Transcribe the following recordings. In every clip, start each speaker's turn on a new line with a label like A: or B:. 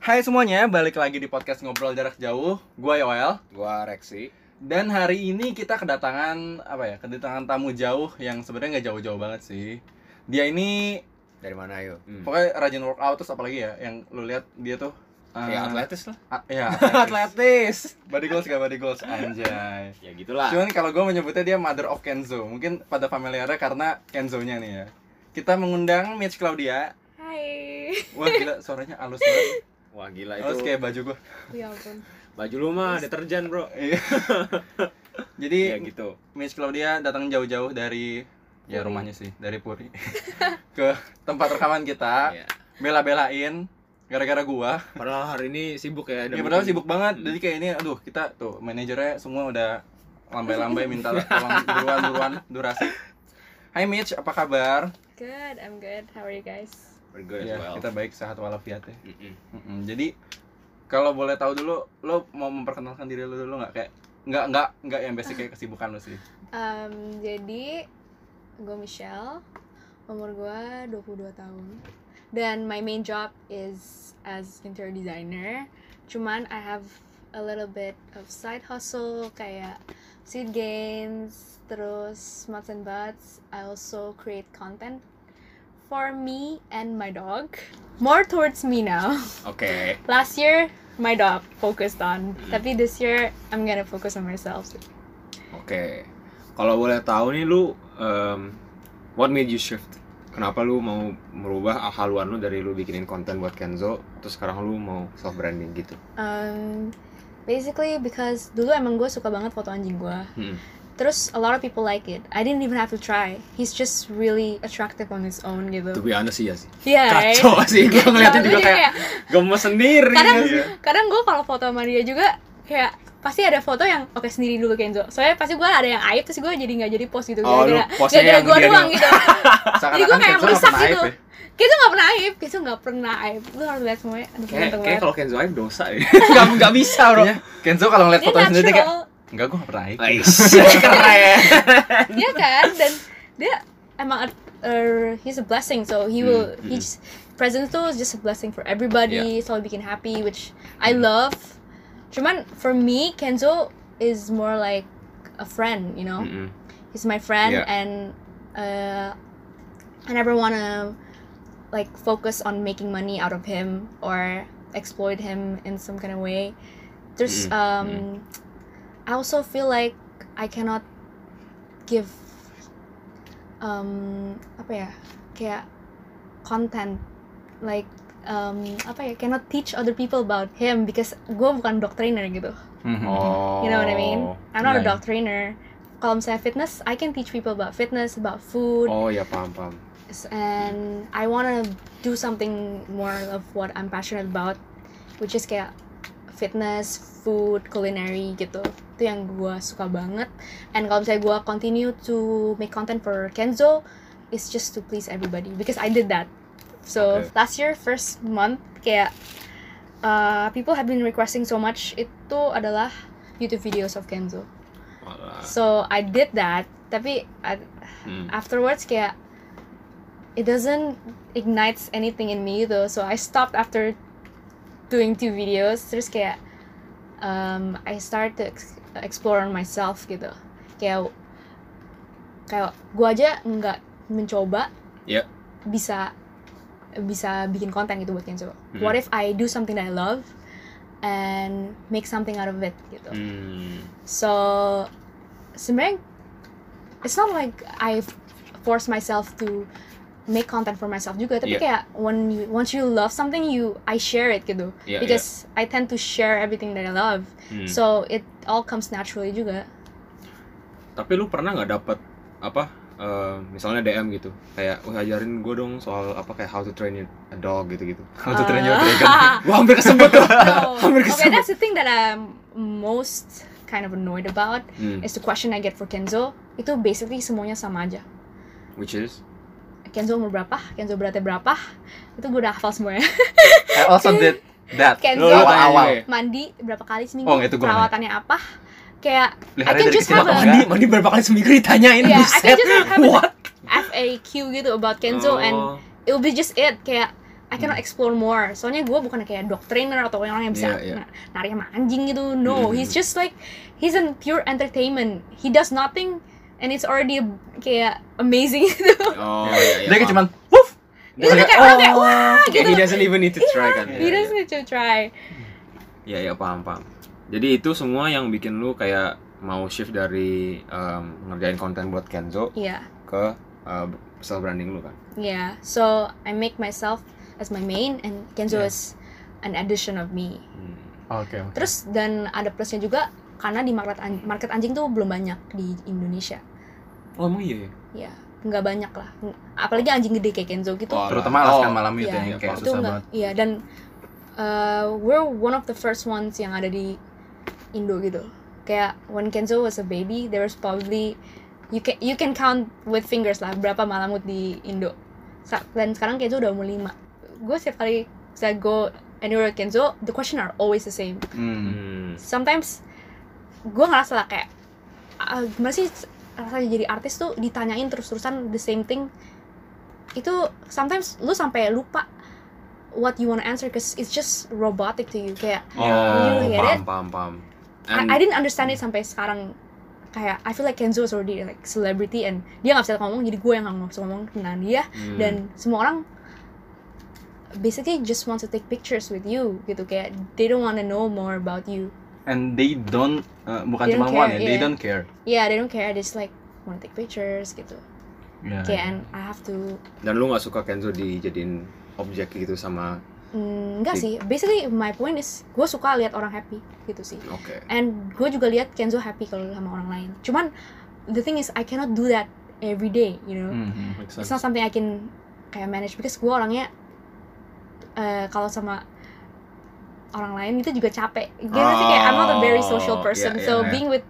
A: Hai semuanya, balik lagi di podcast Ngobrol Jarak Jauh. Gua Yoel
B: Gua Rexi.
A: dan hari ini kita kedatangan apa ya? Kedatangan tamu jauh yang sebenarnya nggak jauh-jauh banget sih. Dia ini
B: Dari mana ayo?
A: pokoknya rajin workout terus apalagi ya yang lu lihat dia tuh eh,
B: Ya atletis lah.
A: a- ya, atletis.
B: Atletis.
A: Body goals gak body goals anjay.
B: Ya gitulah.
A: Cuman kalau gue menyebutnya dia mother of Kenzo. Mungkin pada familiarnya karena Kenzo-nya nih ya. Kita mengundang Mitch Claudia.
C: Hai.
A: Wah gila suaranya halus banget.
B: Wah gila
A: Halus
B: Nah, itu.
A: kayak baju gue.
C: Ya ampun.
B: Baju lu mah deterjen, Bro.
A: Iya. Jadi
B: Ya gitu.
A: Miss Claudia datang jauh-jauh dari ya
C: Puri.
A: rumahnya sih, dari Puri ke tempat rekaman kita.
B: Iya.
A: Bela-belain gara-gara gua.
B: Padahal hari ini sibuk ya. ada
A: Ya padahal
B: meeting.
A: sibuk banget.
B: Hmm.
A: Jadi kayak ini aduh, kita tuh manajernya semua udah lambai-lambai minta tolong buruan-buruan durasi. Hai Mitch, apa kabar?
C: Good, I'm good. How are you guys?
B: We're good
A: Ya,
B: as well.
A: kita baik sehat walafiat ya.
B: Mm-mm.
A: Mm-mm. Jadi kalau boleh tahu dulu lo mau memperkenalkan diri lo dulu nggak kayak nggak nggak nggak yang basic kayak kesibukan lo sih.
C: Um, jadi gue Michelle, umur gue 22 tahun. Dan my main job is as interior designer. Cuman I have a little bit of side hustle kayak seed games, terus smuts and butts. I also create content for me and my dog. More towards me now.
B: Oke.
C: last year my dog focused on
B: Hmm.
C: tapi this year I'm gonna focus on myself
B: Oke. Kalau boleh tahu nih lu em, what made you shift? Kenapa lu mau merubah haluan lu dari lu bikinin konten buat Kenzo terus sekarang lu mau self branding gitu?
C: um, basically because dulu emang gue suka banget foto anjing gue
B: Hmm.
C: terus a lot of people like it I didn't even have to try he's just really attractive on his
B: To
C: own gitu
B: be honest iya sih.
C: yeah right?
B: Kacau sih gua ngeliatnya
C: Soalnya
B: juga
C: dia
B: kayak gemes sendiri.
C: Iya, Kadang-
B: Iya.
C: kadang gue kalau foto sama dia juga kayak pasti ada foto yang oke sendiri dulu Kenzo soalnya pasti gue ada yang aib terus gue jadi nggak jadi post gitu
B: Oh, lu
C: gara-gara
B: postnya
C: gara-gara
B: yang
C: gue
B: dia
C: doang
B: doang.
C: gitu
A: ya. Seakan-akan
C: Jadi gua kayak
A: Kenzo nggak
C: merusak
A: pernah aib
C: gitu.
A: ya.
C: Kenzo nggak pernah aib Kenzo nggak pernah aib lu harus lihat semuanya aduh
B: Kayak
C: ganteng
B: kayak
C: banget.
B: kalau Kenzo aib dosa ya. Enggak enggak bisa, Bro.
A: Iya, Kenzo kalau ngeliat
C: dia
A: fotonya sendiri dia kayak
C: natural
A: enggak gua nggak pernah aib.
B: Ais, keren. ya.
C: dia kan dan dia emang a- er, he's a blessing so he will
B: Hmm,
C: he just presence tuh is just a blessing for everybody selalu bikin happy which I
B: Hmm.
C: love cuman for me Kenzo is more like a friend you know
B: Mm-mm.
C: he's my friend
B: Yeah.
C: and uh, I never want to like focus on making money out of him or exploit him in some kind of way. There's
B: Mm,
C: um
B: mm.
C: I also feel like I cannot give um apa ya kayak content like um apa ya cannot teach other people about him because gue bukan dog trainer gitu
A: Hmm.
B: Oh.
C: You know what I mean? I'm not a
A: Yeah,
C: dog trainer. Kalau misalnya fitness, I can teach people about fitness, about food,
B: Oh ya paham paham.
C: and I wanna do something more of what I'm passionate about, which is kayak fitness, food, culinary gitu. Itu yang gua suka banget. And kalau misalnya gua continue to make content for Kenzo, it's just to please everybody because I did that. So
B: Okay.
C: last year first month kayak uh, people have been requesting so much itu adalah YouTube videos of Kenzo.
B: Walah.
C: So I did that, tapi I,
B: Hmm.
C: afterwards kayak it doesn't ignites anything in me though. So I stopped after doing two videos. Terus kayak um, I start to ex- explore on myself gitu. Kayak kayak gua aja nggak mencoba
B: Yeah.
C: bisa bisa bikin konten gitu buat Kenzo.
B: Mhm.
C: What if I do something that I love and make something out of it gitu.
B: Hmm.
C: So sebenarnya it's not like I force myself to make content for myself juga
B: Yeah.
C: tapi kayak when you, once you love something you I share it gitu
B: Ya, ya.
C: because I tend to share everything that I love
B: Hmm.
C: so it all comes naturally juga
B: Tapi lu pernah nggak dapat apa? eh, misalnya DM gitu kayak "Wah, ajarin gue dong soal apa kayak how to train a dog gitu gitu
A: How to train your
C: Uh,
A: dragon.
B: gua hampir kesebut tuh
C: no.
B: hampir
C: okay
B: kesebut
C: that's the thing that I'm most kind of annoyed about
B: Hmm,
C: is the question I get for Kenzo itu basically semuanya sama aja
B: which is
C: Kenzo umur berapa Kenzo beratnya berapa itu gue udah hafal semuanya
A: I also did "Oh, that.
C: Kenzo.
B: tanya
A: Awal-awal.
B: juga ya?
C: mandi berapa kali seminggu
A: Oh, itu gua
C: perawatannya apa kayak
A: Peliharanya
C: I can
A: dari
C: just
A: kecil
C: have
A: atau
C: a-
A: enggak?
B: mandi mandi berapa kali seminggu ditanyain
C: Iya, I
B: buset.
C: can just have a-
B: What?
C: FAQ gitu about Kenzo and
B: Oh, Hmm.
C: it will be just it kayak I cannot explore more. Soalnya gue bukan kayak doktriner atau orang yang bisa
B: Iya, iya.
C: na- narik sama anjing gitu. No,
B: Hmm.
C: he's just like he's in pure entertainment. He does nothing and it's already kayak amazing gitu.
B: Oh, iya, iya.
A: Dia kayak
B: paham.
A: cuman woof.
C: Itu kayak orang kayak wah
B: "Oh." Kayak
C: gitu.
B: he doesn't even need to try kan.
A: Iya,
C: He doesn't need to try.
B: Iya, iya paham, paham. Jadi itu semua yang bikin lu kayak mau shift dari em, ngerjain konten buat Kenzo
C: Yeah.
B: ke eh, self branding lu kan.
C: Yeah. So I make myself as my main and Kenzo
A: Yeah.
C: is an addition of me.
B: Hmm.
A: Oh, Oke. oke.
C: Terus dan ada plusnya juga karena di market an- market anjing tuh belum banyak di Indonesia.
B: Oh, emang iya. ya?
C: Ya, nggak banyak lah. Apalagi anjing gede kayak Kenzo gitu.
B: Oh,
A: Terutama alaskan
B: oh.
A: malam itu
C: Iya,
A: yang kayak
B: itu
C: itu
A: susah
C: nggak.
A: banget.
C: Iya dan uh, we're one of the first ones yang ada di Indo gitu. Kayak when Kenzo was a baby, there was probably you can you can count with fingers lah berapa malamut di Indo. Sa- Dan sekarang Kenzo udah umur lima. Gue setiap kali saya go anywhere with Kenzo, the question are always the same.
A: Hmm.
B: Hmm.
C: sometimes gue ngerasa lah kayak ah, gimana sih rasanya jadi artis tuh ditanyain terus-terusan the same thing itu sometimes lu sampai lupa what you wanna answer cause it's just robotic to you kayak
B: Oh,
C: You get
B: paham,
C: it?
B: paham, paham. And-
C: I, I didn't understand it sampai sekarang kayak I feel like Kenzo is already like celebrity and dia nggak bisa ngomong jadi gue yang nggak bisa ngomong tentang dia
B: hmm.
C: dan semua orang basically just want to take pictures with you gitu kayak they don't wanna know more about you
A: And they don't eh, bukan
C: They
A: cuma
C: don't
A: one ya,
C: care,
A: they
C: iya.
A: don't care.
C: yeah they don't care they just like wanna take pictures gitu
B: Nah,
A: Iya.
C: Okay, and I have to
B: dan lu nggak suka Kenzo dijadiin objek gitu sama
C: mm, enggak
B: Di-
C: sih. Basically my point is gue suka lihat orang happy gitu sih.
B: oke
C: And gue juga lihat Kenzo happy kalau sama orang lain. Cuman the thing is I cannot do that every day,
B: Hmm,
C: you know.
A: Mhm.
B: Make
C: It's
B: sense.
C: not something I can kayak manage because gue orangnya eh, kalau sama orang lain itu juga capek. Gitu sih kayak I'm not a very social
B: Oh,
C: person.
B: iya,
C: so
B: iya, iya.
C: being with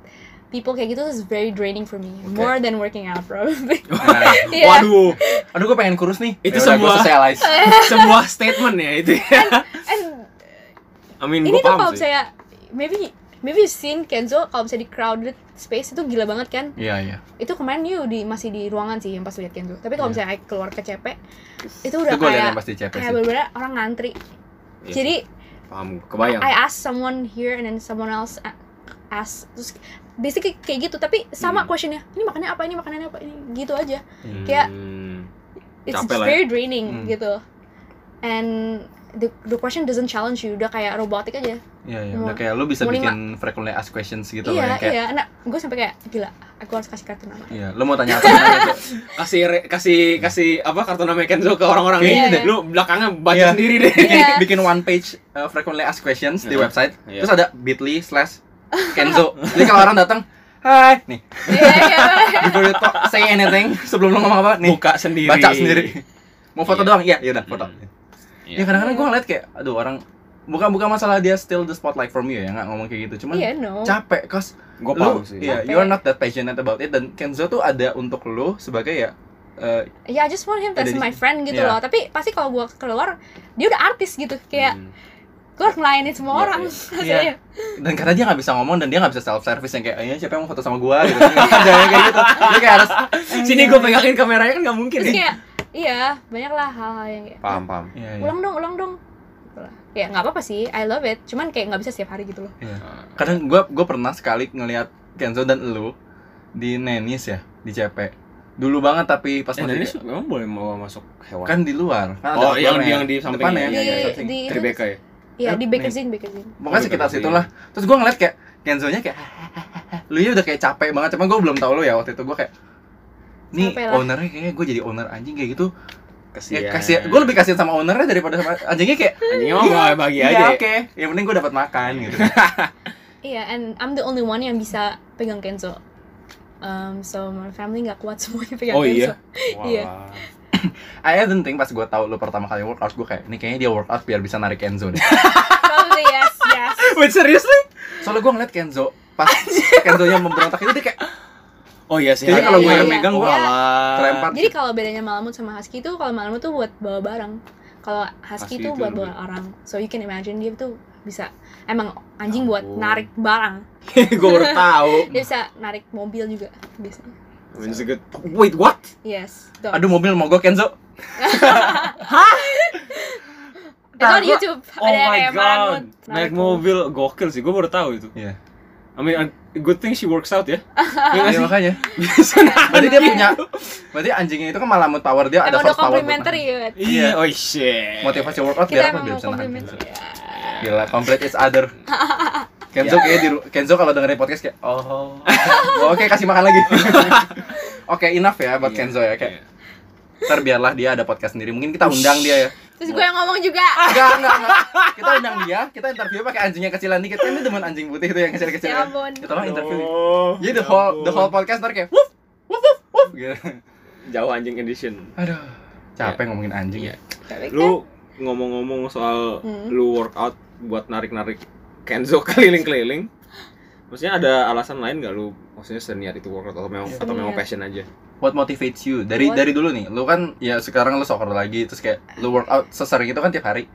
C: people kayak gitu is very draining for me.
B: Okay.
C: More than working out probably.
A: Nah,
C: Iya.
B: waduh
A: aduh gue pengen kurus nih.
B: Itu
A: Yaudah, gua
B: semua.
A: socialize.
B: sebuah statement ya itu
C: And
B: I mean
C: ini
B: gue
C: tuh kalau
B: paham sih
C: misalnya maybe maybe you've seen Kenzo kalau misalnya di crowded space itu gila banget kan
A: Iya, iya.
C: itu kemarin you di masih di ruangan sih yang pas lihat Kenzo tapi kalau
A: Iya.
C: misalnya I keluar ke CP itu
A: Itu
C: udah
A: gue liat
C: kayak
A: yang pasti CP
C: kayak
A: sih.
C: bener orang ngantri
B: Iya
C: jadi
B: sih, paham kebayang
C: I ask someone here and then someone else a- ask terus basically kayak gitu tapi sama
B: Hmm.
C: questionnya ini makannya apa ini makanannya apa ini gitu aja
B: Hmm.
C: kayak- it's
B: Capek lah ya.
C: very draining
A: Hmm.
C: gitu and the, the question doesn't challenge you udah kayak robotik aja
A: Iya, iya.
C: Mau-
A: Udah kayak lu bisa
C: mau lima.
A: bikin frequently asked questions gitu loh
C: iya
A: yang kayak
C: iya nah gue sampai kayak gila aku harus kasih kartu nama
A: Iya, lu mau tanya apa? Nanya
C: Iya.
A: aja.
B: kasih re- kasih kasih apa kartu nama Kenzo ke orang-orang
A: Iya,
B: ini
C: iya.
B: lu belakangnya baca
A: Iya.
B: sendiri deh
A: bikin,
C: Iya.
A: bikin one page uh, frequently asked questions di
B: Iya.
A: website
B: Iya.
A: terus ada bit.ly slash Kenzo jadi kalau orang datang hai nih
C: Iya, iya, iya.
A: before you talk say anything sebelum lo ngomong apa nih
B: buka sendiri
A: baca sendiri mau foto
B: Iya.
A: doang iya iya udah foto
B: Hmm.
A: ya
B: Iya.
A: kadang-kadang
C: Iya.
A: gue ngeliat kayak aduh orang bukan bukan masalah dia still the spotlight from you ya nggak ngomong kayak gitu cuman
C: Iya, no.
A: capek cause
B: gue
A: lu
B: paham sih
A: iya
C: Capek.
A: you are not that passionate about it dan Kenzo tuh ada untuk lo sebagai ya uh,
C: Ya, I just want him as
A: Ada di-
C: my friend gitu
A: Iya.
C: loh. Tapi pasti kalau gua keluar, dia udah artis gitu. Kayak
B: Hmm.
C: gue harus melayani semua
B: Iya,
C: orang.
B: iya.
A: Iya.
C: Iya.
A: dan karena dia nggak bisa ngomong dan dia nggak bisa self service yang kayak "Eh, siapa yang mau foto sama gua gitu jangan kayak gitu dia kayak harus
B: sini gue pegangin kameranya kan nggak mungkin
C: Terus
B: ya
C: kayak, iya banyak lah hal-hal yang kayak,
B: paham paham
A: Iya, iya.
C: ulang dong, ulang dong. Gitu lah. Ya nggak apa-apa sih, I love it. Cuman kayak nggak bisa setiap hari gitu loh.
A: kadang gue gue pernah sekali ngelihat Kenzo dan lu di Nenis ya di CP dulu banget tapi pas
B: Eh,
A: masih-
B: Nenis memang boleh mau masuk hewan
A: kan di luar kan ada
B: Oh, yang-
A: outdoornya.
B: yang di samping
A: Depannya,
B: ya, Iya,
C: Di,
B: iya, iya.
A: samping.
C: di itu,
B: Tribeca ya
C: ya
A: Eh,
C: di Bakerzin, Bakerzin.
A: pokoknya sekitar situ lah terus gue ngeliat kayak Kenzo nya kayak lu ya udah kayak capek banget cuman gue belum tahu lu ya waktu itu gue kayak nih
C: Capek lah.
A: ownernya kayaknya gue jadi owner anjing kayak gitu
B: kasihan Iya,
A: ya kasih gue lebih kasihan sama ownernya daripada sama anjingnya kayak
B: anjingnya mah gua bagi
A: iya
B: aja ya?
A: oke yang penting gue dapat makan gitu
C: Iya, and I'm the only one yang bisa pegang Kenzo. Um, so my family nggak kuat semuanya pegang
B: Oh, iya?
C: Kenzo. Iya.
B: Wah.
A: I don't think pas gue tahu lu pertama kali workout gue kayak ini kayaknya dia workout biar bisa narik Kenzo deh
C: Probably yes, yes.
B: Wait seriously?
A: soalnya gue ngeliat Kenzo pas Kenzo nya memberontak itu dia kayak
B: Oh iya sih.
A: Jadi
C: kalau gue
B: iya,
C: yang
B: iya.
A: megang, gue
B: Wah.
A: terlempar.
C: Ah. Jadi kalau bedanya Malamut sama Husky itu kalau Malamut tuh buat bawa barang. Kalau
B: Husky
C: Husky,
B: itu
C: itu buat
B: lebih-
C: bawa orang. So you can imagine dia tuh bisa emang anjing
B: Ya
C: buat
B: ampun. Hmm.
C: narik barang.
B: gue baru tahu.
C: Dia bisa narik mobil juga biasanya.
B: It's a good- Wait what?
C: Yes. dogs.
A: aduh mobil mogok Kenzo
C: It's on
B: Nah, gua-
C: YouTube.
B: Oh
C: Ada
B: my
C: kayak
B: god,
C: Marangut.
B: naik
C: Naruto.
B: mobil gokil sih, gue baru tahu itu.
A: Iya.
B: I mean, un- good thing she works out ya. Iya nggak
A: Iya
B: sih?
A: makanya.
B: Bisa
A: Berarti
C: Iya.
A: dia punya berarti anjingnya itu kan malah mau tawar dia ada
C: Emang udah
A: horsepower buat-
C: complimentary ya. Bet?
B: Iya, oh shit.
A: motivasi workout
C: ya. Kita
A: biar apa
C: emang
A: biar
C: iya. mau
A: bisa nahan.
C: complimentary.
A: Gila, complete each other.
C: Ya.
A: Kenzo kayak di ru- Kenzo kalau dengerin podcast kayak oh. oh, Oke, kasih makan lagi. Oke, enough ya buat
B: Iya,
A: Kenzo ya
B: iya.
A: kayak. Ntar biarlah dia ada podcast sendiri. Mungkin kita undang dia ya.
C: Terus gue yang ngomong juga.
B: Ah,
A: Enggak, enggak, enggak. Kita undang dia, kita interview pakai anjingnya kecilan dikit. Kan ini teman anjing putih itu yang kecil-kecil.
C: Ya
A: kan.
C: ampun.
A: Kita lah interview.
B: Oh,
A: Jadi the
B: ya
A: whole the whole
B: ampun. Iya.
A: podcast ntar kayak woof woof woof woof gitu.
B: jauh anjing edition.
A: Aduh, capek ngomongin anjing ya.
B: Iya.
C: Tapi kan-
B: Lu ngomong-ngomong soal
C: Hmm.
B: lu workout buat narik-narik Kenzo keliling-keliling. Maksudnya ada alasan lain gak lu? Maksudnya seniat itu workout atau memang atau memang
C: Seniat.
B: passion aja?
A: What motivates you? Dari
C: What-
A: dari dulu nih, lu kan ya sekarang lu soccer lagi terus kayak lu workout sesering itu kan tiap hari.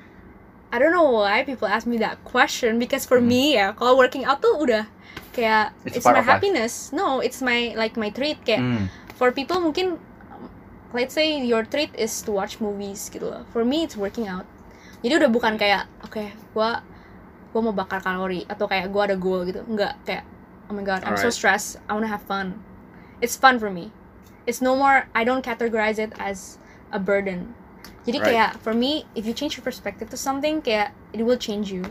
C: I don't know why people ask me that question because for me ya kalau working out tuh udah kayak
A: Mm-hmm. It's
C: it's,
A: part
C: my
A: of life.
C: happiness. No, it's my like my treat kayak
A: Hmm.
C: for people mungkin um, let's say your treat is to watch movies gitu loh. For me it's working out. Jadi udah bukan kayak oke gua gua mau bakar kalori atau kayak gua ada goal gitu. Enggak kayak oh my god, I'm so
B: Alright.
C: stressed. I wanna have fun. It's fun for me. It's no more I don't categorize it as a burden. Jadi
B: Right.
C: kayak for me if you change your perspective to something kayak it will change you.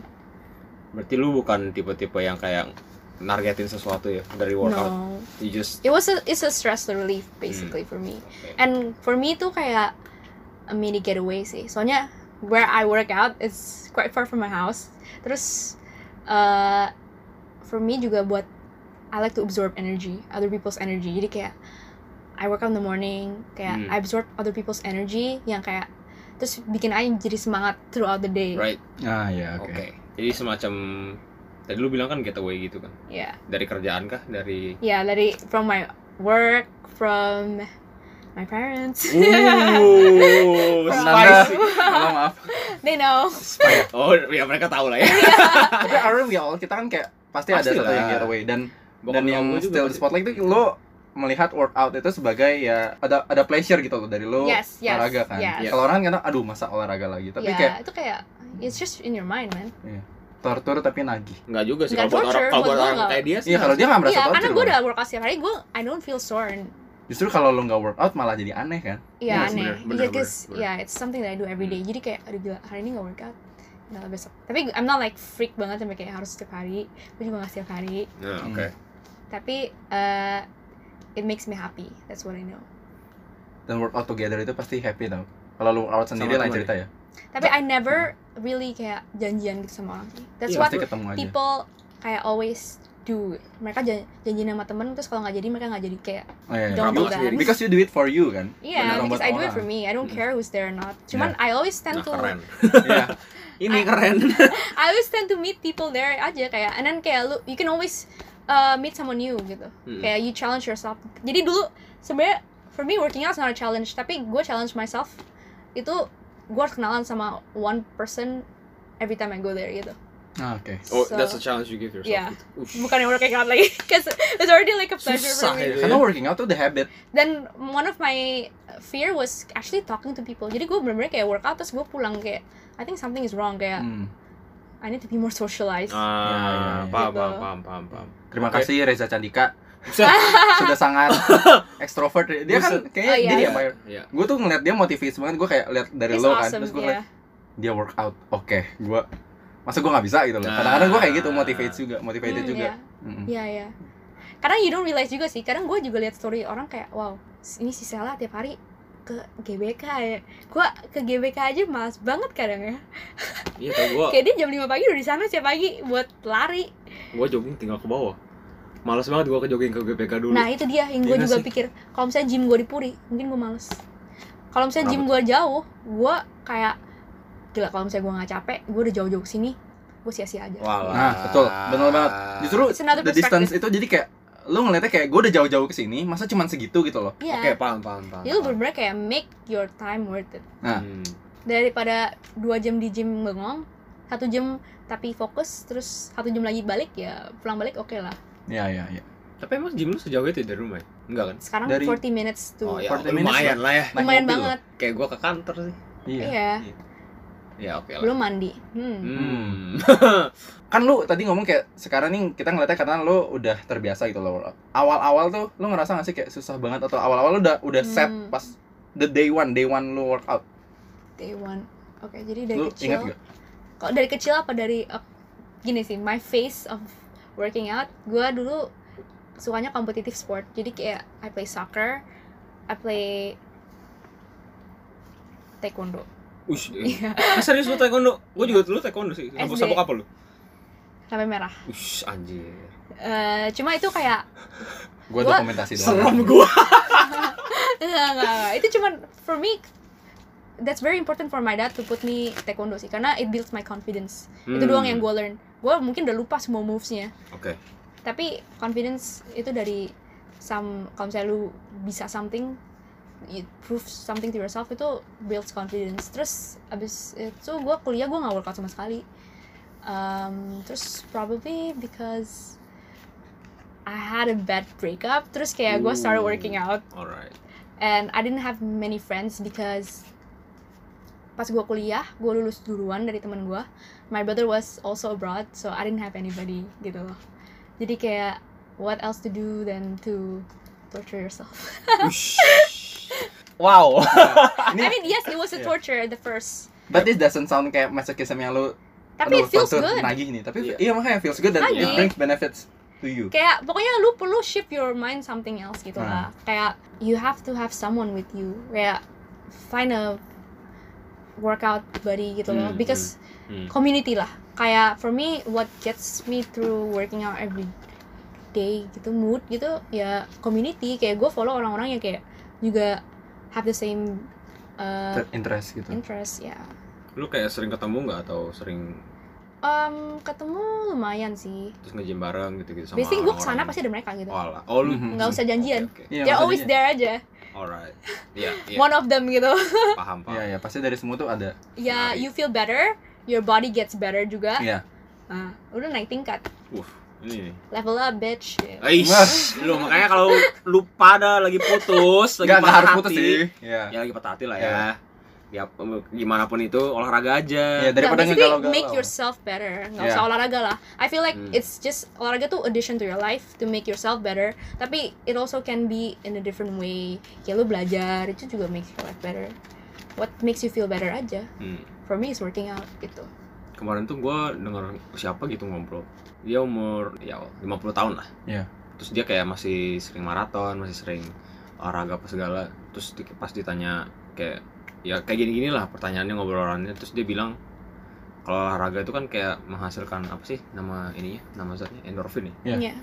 B: Berarti lu bukan tipe-tipe yang kayak nargetin sesuatu ya dari workout.
C: No.
B: You just
C: It was a it's a stress relief basically
B: Hmm.
C: for me. And for me itu kayak a mini getaway sih. Soalnya where I work out it's quite far from my house. Terus eh for me juga buat I like to absorb energy, other people's energy. Jadi kayak I work out in the morning, kayak
B: Hmm.
C: I absorb other people's energy yang kayak terus bikin aja jadi semangat throughout the day.
B: right.
A: Ah ya,
B: iya, Oke.
A: oke.
B: Jadi semacam tadi lu bilang kan getaway gitu kan.
C: Yeah.
B: Dari kerjaan kah? Dari
C: Yeah, dari from my work, from my parents.
B: Uh,
A: Nanda.
B: spicy.
C: Ah.
A: Oh, maaf.
C: They know.
B: Oh, ya mereka tahu lah ya.
C: Iya.
A: Tapi aren't we all? Kita kan kayak pasti ada
B: Pasti
A: satu yang
B: lah.
A: getaway dan dan
B: Bokap
A: yang
B: nyokap gua juga
A: still di
B: pasti-
A: spotlight itu lo melihat workout itu sebagai ya ada ada pleasure gitu loh dari lo
C: Yes, yes,
A: olahraga kan.
C: yes. Iya.
A: Kalau orang kan kadang aduh masa olahraga lagi tapi
C: yeah,
A: kayak
C: itu kayak it's just in your mind, man.
A: tortur tapi nagih.
B: Enggak juga sih
C: Nggak
B: kalau buat orang
C: torture,
B: kalau
C: buat
B: buat
C: gua
B: orang
C: nggak.
B: kayak dia sih.
A: Iya kalau dia nggak merasa
C: Iya, karena
A: tortur.
C: gue
A: malah.
C: udah workout setiap hari, gue I don't feel sore. and-
A: Justru kalau lo nggak workout malah jadi aneh kan.
C: Iya,
B: Iya,
C: aneh.
B: bener, bener,
C: Iya, guys,
B: bener, Hmm. bener.
C: yeah, it's something that I do every day. Jadi kayak aduh gila, hari ini gak workout. Nah, besok. Tapi I'm not like freak banget sampai kayak harus setiap hari. Gue juga gak setiap hari.
B: Nah,
A: Hmm.
B: oke.
C: Tapi eh it makes me happy. That's what I know.
A: Dan workout together itu pasti happy tau. Kalau lo workout sendiri
B: Sama
A: lain
B: temen
A: cerita ya.
C: Tapi
B: Nah.
C: I never really kayak janjian gitu sama orang. That's
B: Iya,
C: what
A: Pasti ketemu aja.
C: people kayak always do. Mereka jan- janjian sama temen terus kalau nggak jadi mereka nggak jadi kayak
A: Oh, iya, iya.
C: don't do
B: Kamu
C: that.
B: sendiri.
A: Because you do it for you kan.
C: Yeah,
A: Beneran
C: because
A: buat
C: I do it
A: orang.
C: for me. I don't
B: Mm.
C: care who's there or not. Cuman I always tend
B: Nah,
C: to
B: keren.
A: Iya.
B: Ini keren.
C: I always tend to meet people there aja kayak and then kayak lu you can always uh, meet someone new gitu.
A: Hmm.
B: Mm.
C: Kayak you challenge yourself. Jadi dulu sebenarnya for me working out is not a challenge, tapi gue challenge myself itu gue harus kenalan sama one person every time I go there gitu.
A: Ah, Oke.
B: Oh,
C: So- Iya.
B: that's a challenge you give yourself.
C: Yeah.
B: gitu. Ush.
C: Bukan yang working out lagi, cause it's already like a pleasure
B: Susah
C: for me.
B: ya.
A: iya. Karena working out tuh the habit.
C: Then one of my fear was actually talking to people. Jadi gue bener-bener kayak workout terus gue pulang kayak I think something is wrong kayak
A: Hmm.
C: I need to be more socialized.
A: Ya, ya,
B: Ah,
A: ya.
B: paham,
C: Gitu.
B: paham, paham, paham, paham.
A: Terima
B: Oke.
A: kasih Reza Candika
B: Buset.
A: sudah sangat ekstrovert. Dia kan
B: Buset.
A: kayaknya
C: Oh, iya.
A: dia
B: Iya,
A: ya, Mayor.
B: iya.
A: Gue tuh ngeliat dia motivasi banget. Gue kayak liat dari
C: It's
A: lo kan.
C: awesome, iya.
A: Terus gue
C: yeah.
A: ngeliat dia workout. Oke, gua masa gue nggak bisa gitu loh.
B: Nah.
A: Kadang-kadang gue kayak gitu motivate juga, motivated
C: Hmm,
A: juga.
C: yeah.
A: Mm-mm.
C: Iya, iya. Kadang you don't realize juga sih. Kadang gue juga lihat story orang kayak, wow, ini si Sela tiap hari ke GBK ya. Gue ke GBK aja males banget kadang ya.
B: Iya, tau gua
C: Kayak dia jam 5 pagi udah di sana setiap pagi buat lari.
B: gua jogging tinggal ke bawah. Males banget gua ke jogging ke GPK dulu.
C: Nah itu dia yang gue
B: Iya
C: juga
B: sih.
C: pikir. Kalau misalnya gym gue di Puri, mungkin gue males. Kalau misalnya gym gue jauh, gue kayak gila kalau misalnya gue nggak capek, gue udah jauh-jauh ke sini, gue sia-sia aja.
B: Walah.
A: Nah, betul. Bener banget. Justru
C: Ah, It's another
A: the distance
C: perspective.
A: itu jadi kayak lu ngeliatnya kayak gue udah jauh-jauh ke sini, masa cuman segitu gitu loh.
C: Iya.
B: Oke, paham, paham, paham.
C: Jadi lu bener-bener kayak make your time worth it.
A: Nah.
B: Hmm.
C: daripada dua jam di gym bengong satu jam tapi fokus terus satu jam lagi balik ya pulang balik oke lah
A: Iya, iya, iya.
B: Tapi emang gym lu sejauh itu dari rumah ya? Enggak kan?
C: sekarang
A: Dari- iya.
C: 40 minutes
B: Oh
C: tuh
B: ya,
A: 40 minutes
B: lumayan lah ya.
A: naik
C: lumayan
A: mobil
C: banget
B: Kayak gua ke kantor sih.
A: Iya.
C: iya
B: Iya. ya oke lah
C: belum mandi hmm.
B: hmm.
A: kan lu tadi ngomong kayak sekarang nih kita ngeliatnya karena lu udah terbiasa gitu loh awal-awal tuh lu ngerasa gak sih kayak susah banget atau awal-awal lu udah udah set
C: Hmm.
A: pas the day one day one lu workout
C: day one oke jadi dari
A: lu
C: kecil
A: ingat gak
C: kalau dari kecil apa dari uh, gini sih my face of working out gue dulu sukanya kompetitif sport jadi kayak I play soccer I play taekwondo
B: Ush, eh.
C: Iya.
B: Ah, serius lu taekwondo? Gua juga dulu taekwondo sih. Sabuk
C: SD.
B: sabuk apa lu?
C: sampai merah
B: Ush, anjir.
C: Eh, cuma itu kayak
A: gue
C: Gua-
A: dokumentasi doang. Iya.
B: Serem gua.
C: enggak, enggak, enggak. itu cuma for me that's very important for my dad to put me taekwondo sih karena it builds my confidence itu
B: Hmm.
C: doang yang gue learn gue mungkin udah lupa semua movesnya
B: Oke.
C: tapi confidence itu dari some kalau misalnya lu bisa something you prove something to yourself itu builds confidence terus abis itu gue kuliah gue nggak workout sama sekali Um, terus probably because I had a bad breakup terus kayak gue started
B: Ooh.
C: working out
B: Alright.
C: and I didn't have many friends because pas gue kuliah gue lulus duluan dari temen gue my brother was also abroad so I didn't have anybody gitu loh jadi kayak what else to do than to torture yourself
B: Ush.
A: wow
C: I
A: ini
C: mean yes it was a
A: Yeah.
C: torture the first
A: but this doesn't sound kayak masochism yang lu
C: tapi
A: aduh,
C: it feels
A: torture,
C: good
A: nagih nih tapi iya makanya feels good dan it
C: Nagih.
A: brings benefits to you
C: kayak pokoknya lu perlu shift your mind something else gitu
A: Hmm.
C: lah kayak you have to have someone with you kayak find a workout buddy gitu loh
B: Hmm,
C: because
B: hmm, hmm.
C: community lah kayak for me what gets me through working out every day gitu mood gitu ya community kayak gue follow orang-orang yang kayak juga have the same uh,
A: interest gitu
C: interest ya
B: Lu kayak sering ketemu nggak atau sering
C: Em, Um, ketemu lumayan sih
B: terus nge-gym bareng gitu-gitu sama
C: biasanya gue kesana
B: orang-orang?
C: pasti ada mereka gitu
B: Oh, alah. oh lu
A: Mhm.
C: Nggak usah janjian.
B: Oke, oke.
A: Iya,
C: they're always
A: maksudnya.
C: there aja
B: Alright. Iya, iya.
C: one of them gitu
B: Paham,
A: Iya,
B: paham.
A: iya, pasti dari semua tuh ada.
C: ya
B: Menarik.
C: you feel better your body gets better juga
A: Iya.
C: Nah, udah naik tingkat
B: Wuh, ini nih.
C: level up bitch
B: Eish, lu makanya kalau lu pada lagi putus, lagi
A: Enggak, enggak
B: patah
A: harus putus
B: hati,
A: sih. Iya.
B: Ya lagi patah hati lah
A: Iya.
B: ya. Ya gimana pun itu olahraga aja.
A: Iya, daripada
C: Nggak, basically
A: ngegalau-galau.
C: make yourself better nggak
A: Yeah.
C: usah olahraga lah I feel like
B: Hmm.
C: it's just olahraga tuh addition to your life to make yourself better tapi it also can be in a different way kayak lu belajar itu juga makes your life better what makes you feel better aja
B: Hmm.
C: for me is working out gitu
B: kemarin tuh gue denger siapa gitu ngobrol dia umur ya 50 tahun lah
A: Iya.
B: terus dia kayak masih sering maraton masih sering olahraga apa segala terus di- pas ditanya kayak ya kayak gini gini lah pertanyaannya ngobrolannya terus dia bilang kalau olahraga itu kan kayak menghasilkan apa sih nama ininya nama zatnya endorfin ya
A: Iya.
C: Iya.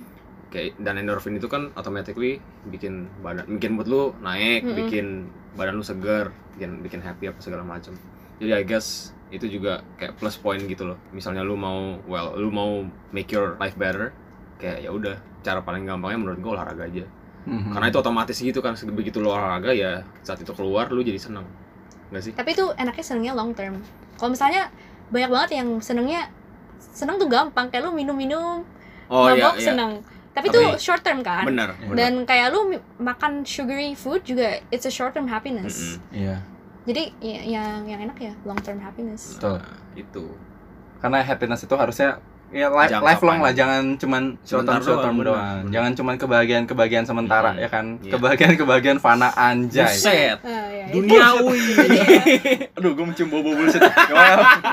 B: kayak dan endorfin itu kan automatically bikin badan bikin mood lu naik
C: Mm-mm.
B: bikin badan lu seger bikin bikin happy apa segala macam jadi I guess itu juga kayak plus point gitu loh misalnya lu mau well lu mau make your life better kayak ya udah cara paling gampangnya menurut gua olahraga aja
A: Hmm.
B: karena itu otomatis gitu kan begitu lu olahraga ya saat itu keluar lu jadi seneng nggak sih
C: tapi itu enaknya senengnya long term kalau misalnya banyak banget yang senengnya seneng tuh gampang kayak lu minum-minum
B: oh iya iya
C: mabok seneng tapi,
B: Tapi-
C: itu short term kan
B: benar benar
C: dan kayak lu mi- makan sugary food juga it's a short term happiness
B: Mm-mm.
A: Iya.
C: jadi ya- yang yang enak ya long term happiness
A: Betul.
B: Nah, itu
A: Karena happiness itu harusnya ya li-
B: Jangka
A: lifelong lah,
B: panjang.
A: jangan cuman short term
B: Sebentar
A: short term
B: doang, benar,
A: doang.
B: benar.
A: Jangan cuman kebahagiaan-kebahagiaan sementara
B: Mhm.
A: ya kan.
B: Iya.
A: Kebahagiaan-kebahagiaan fana anjay.
B: set
C: Ah, ya, itu.
B: duniawi
A: Aduh, gue mencium bau-bau bullshit. Maaf.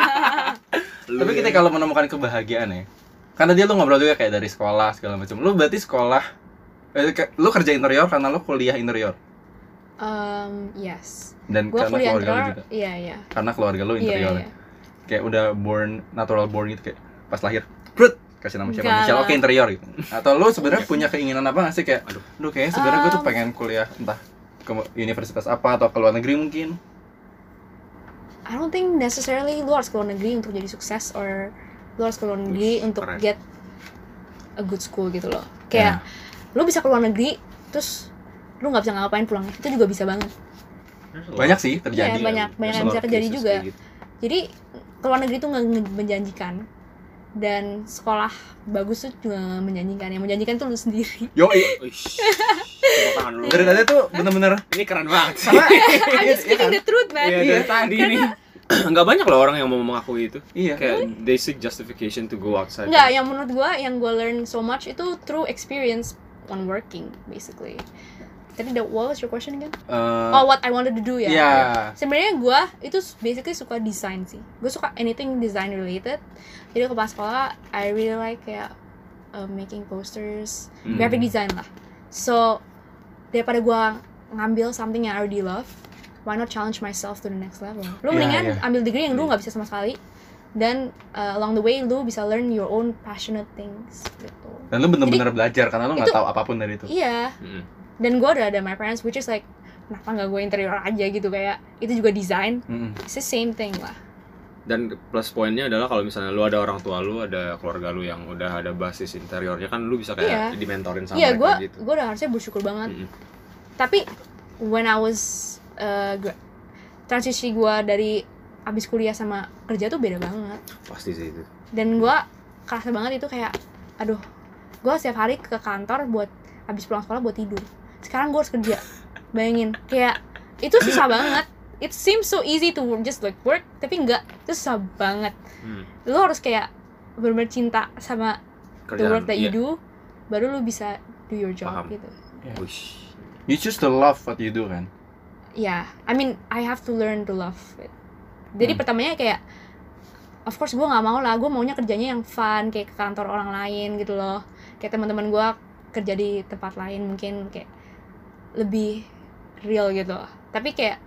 A: Tapi kita kalau menemukan kebahagiaan ya. Karena dia lu ngobrol juga kayak dari sekolah segala macam. Lu berarti sekolah eh, ke- lu kerja interior karena lu kuliah interior
C: Um, yes
A: dan
C: gue
A: karena
C: kuliah
A: keluarga lu
C: interior
A: juga.
C: iya iya
A: Karena keluarga lu
C: iya
A: interior.
C: iya.
A: kayak udah born natural born gitu kayak pas lahir prut kasih nama siapa
C: Enggak
A: Michelle
C: lah.
A: oke interior gitu atau lu sebenarnya punya keinginan apa gak sih kayak aduh
B: Aduh.
A: lu kayaknya sebenarnya gue tuh
C: Um,
A: pengen kuliah entah ke universitas apa atau ke luar negeri mungkin
C: I don't think necessarily lu harus ke luar negeri untuk jadi sukses or lu harus ke luar negeri
B: Wih,
C: untuk
B: keren.
C: get a good school gitu loh kayak
A: Nah,
C: lu bisa ke luar negeri terus lu nggak bisa ngapain pulang itu juga bisa banget
A: banyak sih terjadi
C: Iya, banyak
B: ya.
C: banyak yang bisa terjadi juga
B: gitu.
C: jadi ke luar negeri itu nggak nge- menjanjikan dan sekolah bagus tuh juga nggak menjanjikan yang menjanjikan tuh lu sendiri
A: yo
B: Uish. Coba tangan lu.
A: dari tadi tuh bener-bener
C: Iya,
B: Ini keren banget.
A: karena
C: I'm
A: Iya
C: just speaking
A: kan?
C: the truth man
B: Iya, dari tadi nih. nggak banyak loh orang yang mau mengakui itu
A: Iya.
B: kayak they seek justification to go outside
C: Enggak, yang menurut gua yang gua learn so much itu through experience on working basically. Tadi the, what was your question again?
A: Eh,
C: Oh, what I wanted to do ya.
A: Iya.
C: Sebenarnya gua itu basically suka desain sih. Gua suka anything design related. Jadi ke pas sekolah I really like kayak uh, making posters,
B: Hmm.
C: graphic design lah. So daripada gua ngambil something yang I already love, why not challenge myself to the next level?
A: Yeah,
C: Lu mendingan
A: yeah.
C: ambil degree yang lu nggak bisa sama sekali dan uh, along the way lu bisa learn your own passionate things gitu.
A: Dan lu bener-bener belajar karena lu nggak
C: itu-
A: tahu apapun dari itu.
C: Iya,
B: Mm.
C: dan gua udah ada my parents which is like kenapa nggak gue interior aja gitu kayak itu juga desain
A: Mm-mm.
C: it's the same thing lah
B: dan plus poinnya adalah kalau misalnya lu ada orang tua lu ada keluarga lu yang udah ada basis interiornya kan lu bisa kayak dimentorin sama
C: iya gue
B: mereka gitu
C: gue udah harusnya bersyukur banget
B: Mm-mm.
C: tapi when I was uh, gra- transisi gue dari abis kuliah sama kerja tuh beda banget
B: pasti sih itu
C: dan gue kerasa banget itu kayak aduh gue setiap hari ke kantor buat abis pulang sekolah buat tidur sekarang gue harus kerja bayangin kayak itu susah banget it seems so easy to work- just like work tapi enggak itu susah banget
B: Hmm.
C: lu harus kayak bener-bener cinta sama the work that you
B: iya.
C: do baru lu bisa do your job
B: Paham.
C: gitu
B: iya. Wish.
A: You choose to love what you do kan.
C: ya I mean I have to learn to love it jadi
A: Hmm.
C: pertamanya kayak of course gue nggak mau lah gue maunya kerjanya yang fun kayak ke kantor orang lain gitu loh kayak teman-teman gue kerja di tempat lain mungkin kayak lebih real gitu tapi kayak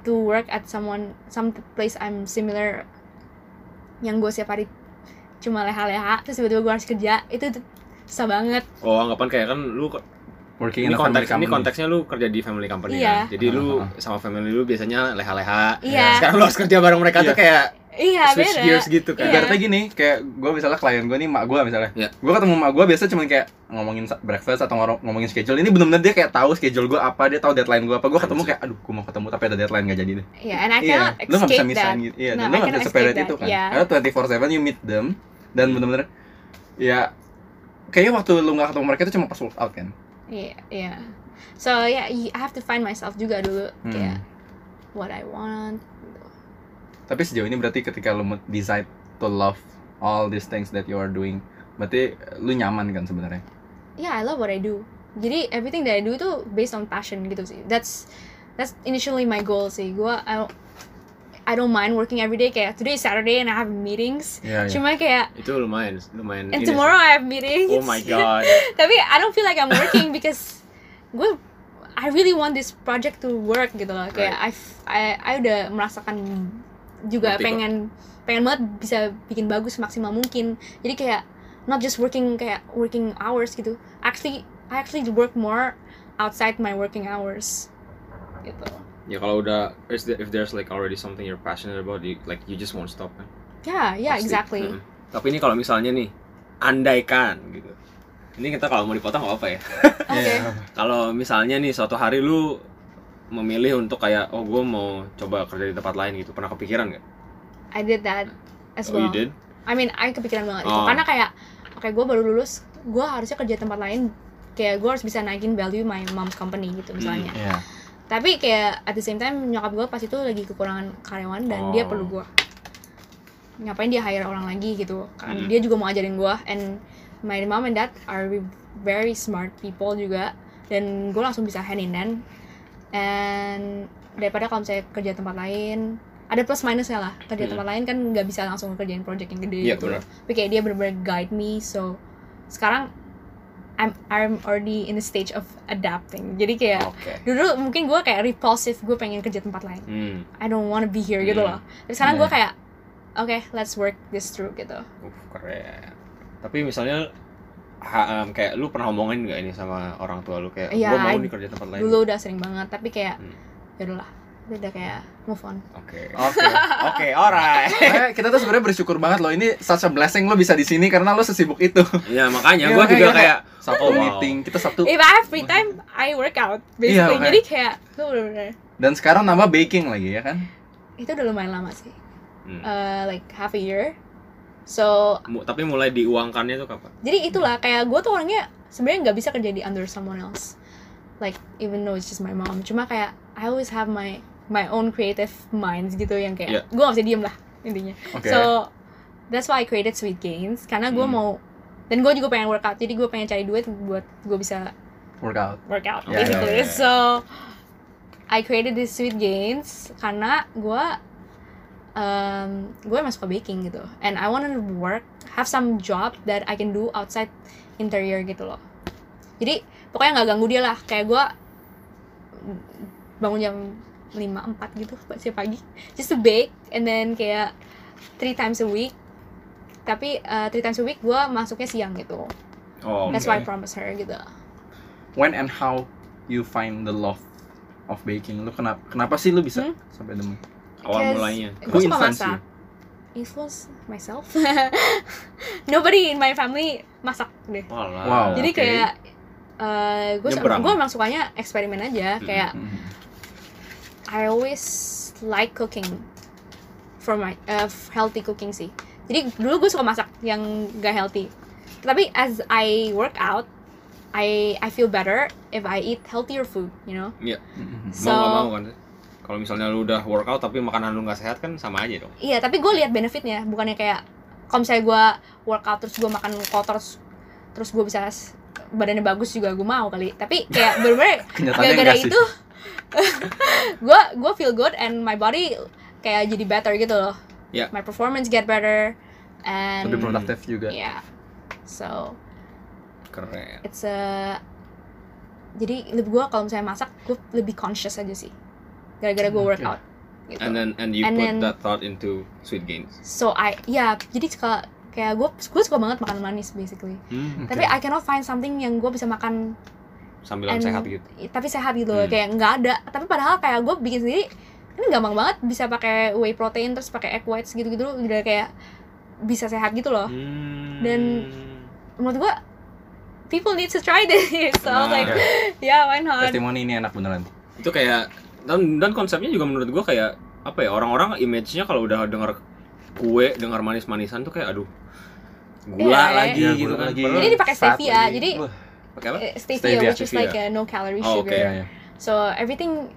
C: to work at someone some place I'm similar yang gue setiap hari cuma leha-leha terus tiba-tiba gue harus kerja itu tuh susah banget
B: oh anggapan kayak kan lu
A: Working in
B: ini
A: a family
B: konteks ini
A: company.
B: konteksnya lu kerja di family company
C: Iya.
B: kan? jadi lu
A: Ah, ah,
B: sama family lu biasanya leha-leha
C: Iya.
B: sekarang lu harus kerja bareng mereka
A: Iya.
B: tuh kayak
C: iya
B: switch
C: beda
B: gears gitu kan
C: Iya.
A: Ibaratnya gini, kayak gue misalnya klien gue nih, mak gue misalnya
B: Iya.
A: Gue ketemu mak gue biasa cuman kayak ngomongin sa- breakfast atau ngoro- ngomongin schedule Ini bener-bener dia kayak tahu schedule gue apa, dia tahu deadline gue apa Gue ketemu kayak, aduh gue mau ketemu tapi ada deadline gak jadi deh
C: Iya, and I cannot
A: lu gak bisa
C: escape that.
A: misahin gitu Iya,
C: No,
A: dan lu
C: I
A: gak bisa
C: cannot
A: separate
C: escape
A: itu kan
C: that, iya.
A: Karena 24-7 you meet them Dan bener-bener, ya Kayaknya waktu lu gak ketemu mereka itu cuma pas workout kan
C: Iya, iya. So yeah, you- I have to find myself juga dulu
B: Hmm.
C: kayak what I want.
A: Iya. Tapi sejauh ini berarti ketika lu mo- decide to love all these things that you are doing Berarti lu nyaman kan sebenarnya
C: Yeah, I love what I do. Jadi everything that I do itu based on passion gitu sih. That's that's initially my goal sih. Gua I don't, I don't mind working every day kayak today is Saturday and I have meetings.
B: Oh,
A: Iya, iya.
C: Cuma kayak
B: itu lumayan lumayan ini
C: and
B: sih.
C: tomorrow I have meetings.
B: oh my god
C: Tapi I don't feel like I'm working because gue I really want this project to work gitu loh. Kayak I f- I, I udah merasakan juga
B: Ngerti kok.
C: pengen pengen banget bisa bikin bagus maksimal mungkin. Jadi kayak not just working kayak working hours gitu. Actually I actually work more outside my working hours. Gitu.
B: ya kalau udah is there- if there's like already something you're passionate about you, like you just won't stop kan
C: Yeah, yeah,
B: Pasti.
C: Iya,
B: Hmm.
C: exactly.
B: Mm-mm. tapi ini kalau misalnya nih andaikan gitu ini kita kalau mau dipotong nggak apa ya
C: Oke.
A: Iya.
B: kalau misalnya nih suatu hari lu memilih untuk kayak oh gue mau coba kerja di tempat lain gitu pernah kepikiran nggak?
C: I did that as
B: oh you
C: well.
B: did?
C: I mean, I kepikiran banget itu
B: Oh.
C: karena kayak oke gue baru lulus, gue harusnya kerja tempat lain kayak gue harus bisa naikin value my mom's company gitu misalnya.
A: Iya.
C: Tapi kayak at the same time nyokap gue pas itu lagi kekurangan karyawan dan dia
B: Oh.
C: perlu gue. Ngapain dia hire orang lagi gitu? Kan
B: Hmm.
C: dia juga mau ajarin gue and my mom and dad are very smart people juga dan gue langsung bisa hand in hand and daripada kalau misalnya kerja tempat lain ada plus minusnya lah kerja
B: Hmm.
C: tempat lain kan nggak bisa langsung ngerjain project yang gede
B: Iya,
C: gitu
B: benar.
C: tapi kayak dia bener-bener guide me so sekarang I'm I'm already in the stage of adapting jadi kayak
B: Oke.
C: dulu mungkin gue kayak repulsive gue pengen kerja tempat lain
B: Hmm.
C: I don't wanna be here gitu
B: Hmm.
C: loh tapi sekarang gue
A: Iya.
C: kayak oke let's work this through gitu
B: Uh, keren. Tapi misalnya ha- em, kayak lu pernah ngomongin nggak ini sama orang tua lu kayak
C: Iya,
B: gue mau
C: I-
B: nih kerja tempat lain.
C: dulu udah sering banget tapi kayak
B: Hmm.
C: ya udahlah udah kayak move on
B: Oke.
A: Oke.
B: Oke, alright.
A: Makanya kita tuh sebenarnya bersyukur banget loh ini such a blessing lo bisa di sini karena lo sesibuk itu.
B: Iya, makanya
A: Iya,
B: gue
A: makanya
B: juga
A: kan.
B: kayak
A: Sabtu
B: Wow.
A: meeting, kita Sabtu
C: if I have free time I work out basically
A: makanya.
C: jadi kayak gue bener-bener
A: dan sekarang nambah baking lagi ya kan.
C: itu udah lumayan lama sih
B: Hmm.
C: Uh, like half a year so
B: Mu- tapi mulai diuangkannya tuh kapan?
C: jadi itulah kayak gue tuh orangnya sebenarnya nggak bisa kerja di under someone else like even though it's just my mom cuma kayak I always have my my own creative minds gitu yang
B: Yeah.
C: kayak gue gak bisa diem lah intinya
A: Oke.
C: so that's why I created Sweet Gains karena gue
A: Hmm.
C: mau dan gue juga pengen workout jadi gue pengen cari duit buat gue bisa
A: Workout.
C: workout
B: Yeah,
C: basically
A: yeah, yeah, yeah.
C: so I created this Sweet Gains karena gue um, gue emang suka baking gitu and I wanna work have some job that I can do outside interior gitu loh jadi pokoknya nggak ganggu dia lah kayak gue bangun jam 5, 4 gitu setiap pagi just to bake and then kayak three times a week tapi uh, three times a week gue masuknya siang gitu
B: Oh,
C: that's
B: oke.
C: why I promise her gitu
A: When and how you find the love of baking? Lu kenapa kenapa sih lu bisa
C: Hmm?
A: sampai demen?
B: awal
C: Because
B: mulanya.
A: Who
C: gue suka
A: influenced
C: masak influence myself nobody in my family masak deh
B: Walah,
A: Wow.
C: jadi
B: Ah, oke.
C: kayak eh, gue
B: Nyebrang.
C: gue emang sukanya eksperimen aja
B: Mm.
C: kayak
A: Hmm.
C: I always like cooking for my uh, healthy cooking sih. Jadi dulu gue suka masak yang gak healthy. Tapi as I work out, I I feel better if I eat healthier food, you know.
A: Hmm.
B: mau nggak
C: So-
B: mau kan? Kalau misalnya lu udah workout tapi makanan lu nggak sehat kan sama aja dong.
C: Iya, tapi gue lihat benefitnya, bukannya kayak kalau misalnya gue workout terus gue makan kotor terus, terus gue bisa s- badannya bagus juga gue mau kali. Tapi kayak bener-bener
A: Kenyataannya
C: gara-gara
A: enggak sih?
C: itu kan. gue gue feel good and my body kayak jadi better gitu loh
B: Ya.
C: my performance get better and
A: Lebih ya. produktif juga.
C: yeah so
B: Keren.
C: it's a jadi lebih gue kalau misalnya masak gue lebih conscious aja sih gara-gara gue
A: Hmm, oke.
C: workout gitu
B: And then and you
C: And
B: put
C: then-
B: that thought into sweet gains.
C: so I ya jadi suka kayak gue gue suka banget makan manis basically
A: Hmm, Oke.
C: tapi I cannot find something yang gue bisa makan
B: Sambilan
C: And-
B: sehat gitu.
C: tapi sehat gitu loh
B: Hmm.
C: kayak nggak ada tapi padahal kayak gue bikin sendiri ini gampang banget bisa pakai whey protein terus pakai egg whites gitu gitu udah kayak bisa sehat gitu loh Dan- menurut gue people need to try this so I was like
B: Nah.
C: yeah why not
A: Testimoni ini enak beneran.
B: itu kayak dan dan konsepnya juga menurut gua kayak apa ya orang-orang image-nya kalau udah dengar kue dengar manis-manisan tuh kayak aduh gula
C: Iya,
B: lagi
A: Iya, gula
B: gitu kan
A: lagi.
B: Padahal-
C: Ini dipakai
A: Saat
C: stevia,
A: ini-
C: jadi-
A: Wah,
B: pakai apa
C: Eh, stevia,
A: Stevia,
C: which is
B: stevia.
C: like a no calorie
B: Oh,
C: sugar
B: oke.
A: iya, iya.
C: so everything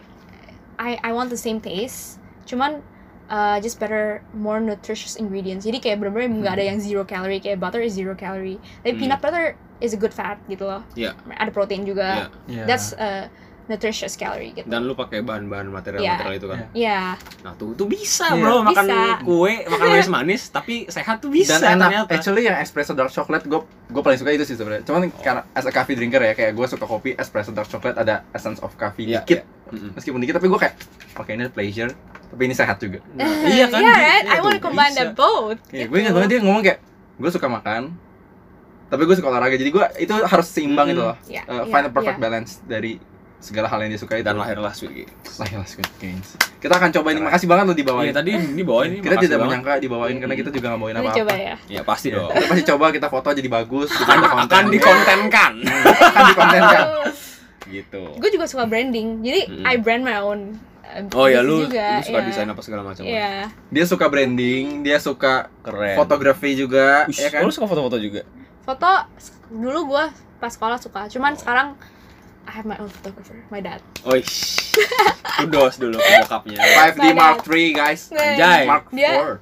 C: I I want the same taste cuman uh, just better more nutritious ingredients jadi kayak bener-bener nggak ada yang zero calorie kayak butter is zero calorie
B: Hmm.
C: tapi peanut butter is a good fat gitu loh
B: Iya.
C: ada protein juga
A: Iya.
C: that's a nutritious calorie gitu
B: dan lu pakai bahan-bahan material-material itu kan
A: Iya.
C: ya
B: nah tuh tuh bisa
A: Iya.
B: bro makan
C: Bisa.
B: kue makan manis-manis tapi sehat tuh bisa
A: dan enak Eh,
B: ternyata
A: actually yang espresso dark chocolate gue gue paling suka itu sih sebenarnya cuman karena as a coffee drinker ya kayak gue suka kopi espresso dark chocolate ada essence of coffee
B: Iya,
A: dikit
B: Mm-mm.
A: meskipun dikit tapi gue kayak pakai ini pleasure tapi ini sehat juga
B: Nah, iya kan
C: yeah
B: Iya,
C: right I
B: tuh,
C: want to
B: bisa.
C: combine
B: Iya,
C: them both
A: kayak gue ingat banget dia ngomong kayak gue suka makan tapi gue suka olahraga jadi gue itu harus seimbang
B: Hmm.
A: gitu loh
C: Yeah,
A: Uh,
C: yeah,
A: find the perfect
C: yeah.
A: balance dari segala hal yang dia suka itu
B: dan lahirlah sweet gains
A: Lahirlah Squid Games kita akan coba ini makasih banget lo dibawain
B: Iya tadi di bawah ini
A: kita
B: makasih
A: tidak Iya.
B: banget.
A: menyangka dibawain karena kita juga nggak bawain
C: Nanti
A: apa-apa
C: coba ya
B: ya pasti dong
A: Kita pasti coba kita foto jadi bagus kita ada konten.
B: akan dikontenkan Kan
A: akan dikontenkan
B: gitu
C: gue juga suka branding jadi
B: Mm-mm.
C: I brand my own uh,
B: Hmm. oh ya
C: business
B: lu,
C: juga,
B: lu suka
C: yeah.
B: desain apa segala macam
C: Iya.
A: dia suka branding dia suka
B: keren
A: fotografi juga
B: Ush,
A: ya kan
B: lu suka foto-foto juga
C: foto s- dulu gue pas sekolah suka cuman sekarang I have my own photographer my dad
B: Oi. Kudos dulu ke bokapnya.
A: 5D
C: Bye,
A: Mark 3 guys
B: Anjay.
A: Mark
C: Dia-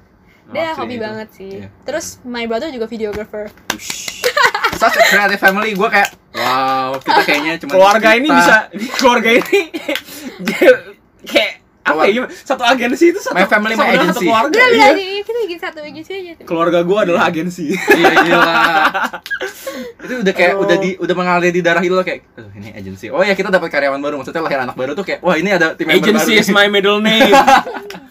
A: 4
C: dia
B: Maaf,
C: hobi
B: itu.
C: banget sih
A: Iya.
C: terus my brother juga videographer
B: Ush.
A: such a creative family gue kayak wow kita kayaknya cuma
B: Keluarga ini bisa keluarga ini kayak apa ya? gimana? Satu agensi itu satu
A: My family, my
B: sama dengan
A: agency.
B: Satu keluarga.
C: udah
B: Iya.
C: udah aja kita bikin satu agensi aja
B: Keluarga gua adalah agensi.
A: iya gila itu udah kayak
B: Aduh.
A: udah di udah mengalir di darah itu loh kayak "Aduh, ini agensi oh ya kita dapat karyawan baru maksudnya lahir anak baru tuh kayak wah ini ada tim member
B: agency
A: baru
B: is my middle name.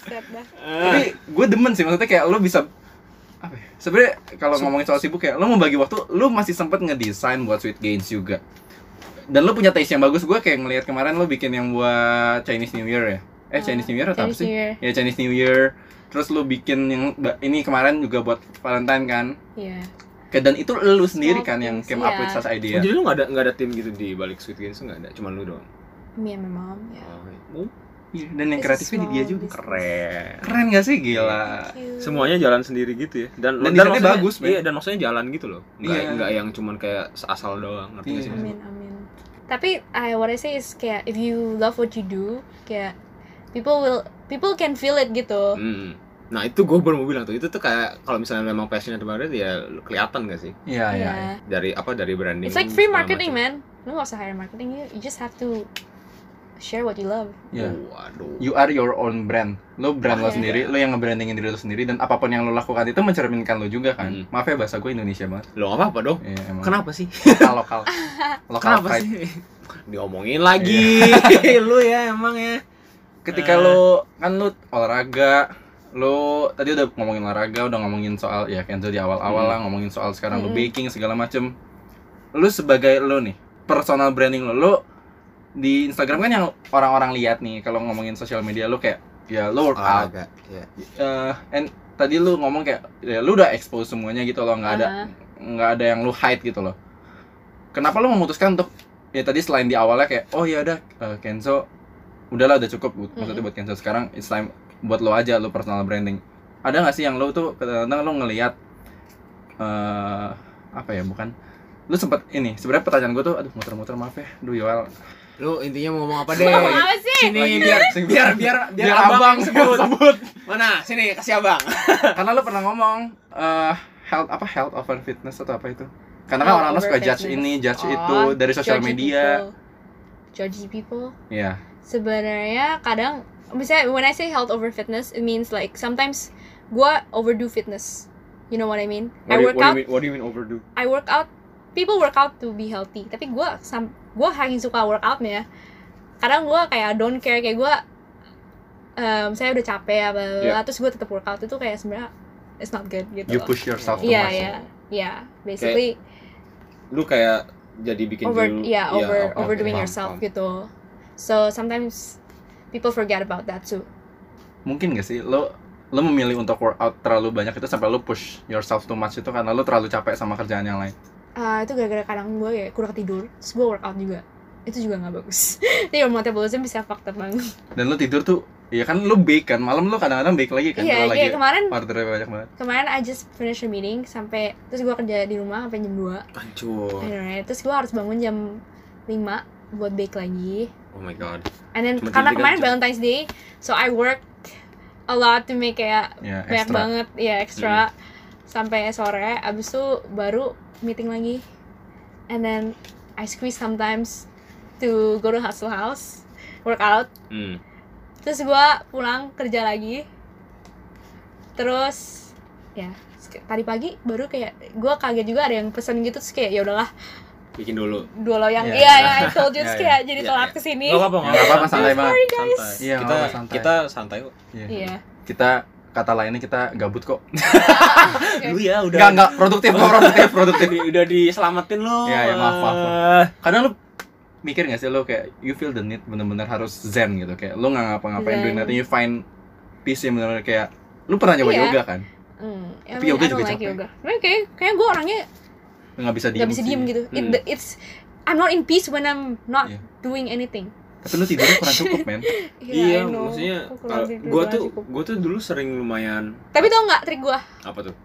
C: Set dah.
A: tapi gue demen sih maksudnya kayak lo bisa apa ya sebenarnya kalau ngomongin soal sibuk kayak lo mau bagi waktu lo masih sempet ngedesain buat sweet gains juga dan lo punya taste yang bagus gue kayak ngelihat kemarin lo bikin yang buat Chinese New Year ya eh Chinese New Year atau apa
C: Chinese
A: sih
C: New Year.
A: ya Chinese New Year terus lo bikin yang ba- ini kemarin juga buat Valentine kan
C: Iya.
A: kayak dan itu lo sendiri
C: Small
A: kan yang
C: things,
A: came up
C: iya.
A: with such idea
B: oh, Jadi lu nggak ada nggak ada tim gitu di balik Sweet Games nggak ada, cuma lu doang.
C: me and my mom
A: Eh,
C: ya
B: Oh,
A: Iya, dan yang
C: It's a
A: kreatifnya di dia
C: small
A: juga
C: business.
B: keren.
A: keren gak sih gila Iya,
C: Cute.
B: Semuanya jalan sendiri gitu ya. Dan
A: Dan desainnya
B: maksudnya-
A: bagus, men.
B: Iya, dan maksudnya jalan gitu loh. Enggak
A: Iya.
B: enggak yang cuman kayak asal doang, ngerti nggak
A: Iya.
B: sih?
C: amin amin tapi I what I say is kayak if you love what you do kayak people will people can feel it gitu
B: Hmm. Nah itu gue baru mau bilang tuh itu tuh kayak kalau misalnya memang passionate about it ya kelihatan gak sih
A: Iya, iya.
C: Yeah.
B: dari apa dari branding.
C: It's like free
B: segala
C: marketing,
B: macam.
C: man. Lu gak usah hire marketing, you, you just have to share what you love.
A: Iya.
B: Waduh.
A: You are your own brand. Lo brand lo
C: Iya.
A: sendiri, lo yang nge-brandingin diri lo sendiri dan apapun yang lo lakukan itu mencerminkan lo juga kan.
B: Hmm.
A: Maaf ya bahasa gue Indonesia banget.
B: Lo apa apa dong?
A: Iya, emang.
B: Kenapa sih?
A: Lokal, lokal. Lokal
B: Kenapa
A: pride.
B: sih? Diomongin lagi. lu ya emang ya.
A: Ketika
B: Eh.
A: lo kan lo olahraga, lo tadi udah ngomongin olahraga, udah ngomongin soal ya Kenzo di awal-awal
B: Hmm.
A: lah ngomongin soal sekarang lo
C: Mm-mm.
A: baking segala macem. Lo sebagai lo nih personal branding lo, lo di Instagram kan yang orang-orang lihat nih kalau ngomongin sosial media lo kayak ya lo workout,
B: Agak. Iya.
A: eh and tadi lu ngomong kayak ya, lu udah expose semuanya gitu loh nggak ada
C: Uh-huh.
A: nggak ada yang lu hide gitu loh kenapa lu memutuskan untuk ya tadi selain di awalnya kayak oh ya udah eh, Kenzo udahlah udah cukup Bu- maksudnya buat Kenzo sekarang it's time buat lo aja lo personal branding ada nggak sih yang lo tuh kadang-kadang lo ngelihat eh apa ya bukan lu sempet ini sebenarnya pertanyaan gue tuh aduh muter-muter maaf ya duh Yoel
B: Lu intinya mau ngomong apa deh?
A: Iya,
C: Ngomong apa sih?
B: Sini biar biar biar biar, abang, sebut. Mana? Sini kasih abang.
A: karena lu pernah ngomong eh health apa health over fitness atau apa itu karena kan
C: Health
A: orang-orang
C: over
A: suka judge
C: fitness.
A: ini judge
C: Oh,
A: itu dari sosial
C: judgy
A: media
C: people. Judgy people.
A: Iya
C: Sebenarnya kadang misalnya when I say health over fitness, it means like sometimes gua overdo fitness. You know what I mean? I work out,
B: mean, what do you mean overdo?
C: I work out. People work out to be healthy. Tapi gua sam gua hanya suka workout ya. Kadang gua kayak don't care kayak gua um, saya udah capek apa
B: Yeah.
C: terus gua tetap workout itu kayak sebenarnya it's not good gitu.
A: you
C: loh.
A: push yourself too
C: Iya,
A: much
C: iya. Iya, basically
B: Lu kayak jadi bikin
C: over
B: diri lu-
C: yeah,
B: iya,
C: over
B: oke,
C: overdoing
B: paham,
C: yourself
B: paham.
C: gitu. So sometimes people forget about that too.
A: mungkin gak sih lo lo memilih untuk workout terlalu banyak itu sampai lo push yourself too much itu karena lo terlalu capek sama kerjaan yang lain
C: Ah, itu gara-gara kadang gue ya kurang tidur, terus gue workout juga. Itu juga nggak bagus. Jadi your metabolism bisa fucked up banget.
A: dan lo tidur tuh ya kan lo bake kan malam lo kadang-kadang bake lagi kan
C: Iya,
A: kalau
C: iya
A: lagi
C: kemarin
A: ordernya banyak banget
C: kemarin I just finish a meeting sampai terus gue kerja di rumah sampai jam 2
B: Hancur.
C: Alright, terus gue harus bangun jam 5 buat bake lagi.
B: Oh my god.
C: And then
B: Cuma
C: karena
B: tiga
C: kemarin
B: jam.
C: Valentine's Day, so I worked a lot to make kayak
A: ya
C: banyak
A: ekstra Hmm.
C: banget ya ekstra sampai sore. Abis itu baru meeting lagi. And then I squeeze sometimes to go to Hustle House, workout.
B: Hmm.
C: Terus gua pulang kerja lagi. Terus ya sek- tadi pagi baru kayak gua kaget juga ada yang pesen gitu terus kayak ya udahlah
B: Bikin dulu.
C: dua loyang
A: Iya.
C: iya ya I told you
A: Iya,
C: terus
A: iya.
C: kayak jadi
B: Iya,
C: telat
B: iya.
C: kesini
B: Gak apa-apa,
A: Ya,
B: nggak
A: nggak apa-apa santai banget
B: Santai.
A: Iya,
B: kita
A: nggak apa-apa, santai.
B: kita santai kok.
A: Iya.
C: iya
A: kita kata lainnya kita gabut kok
C: Oke.
B: Lu ya udah
A: nggak nggak produktif kok produktif produktif
B: Di- udah diselamatin lu.
A: Iya, iya, maaf, maaf,
B: Eh,
A: kadang lu mikir gak sih lo kayak you feel the need bener-bener harus zen gitu kayak lu nggak ngapa-ngapain
C: Zen.
A: doing nothing you find peace yang bener-bener kayak lu pernah nyoba
C: Iya.
A: yoga kan
C: hmm. I
A: Tapi yoga
C: mean, I don't
A: juga
C: like
A: capek.
C: yoga Tapi kayak kayak gue orangnya
A: Lu nggak bisa diem
C: nggak bisa
A: sih.
C: diem gitu It-
B: Hmm.
C: it's I'm not in peace when I'm not
A: Iya.
C: doing anything
A: tapi lu tidurnya kurang cukup men
B: Iya,
C: I know.
B: maksudnya
C: Aku kurang
B: kalau
C: tidur,
B: gua
C: kurang
B: tuh
C: cukup.
B: gua tuh dulu sering lumayan
C: tapi tau nggak trik gua
B: apa tuh?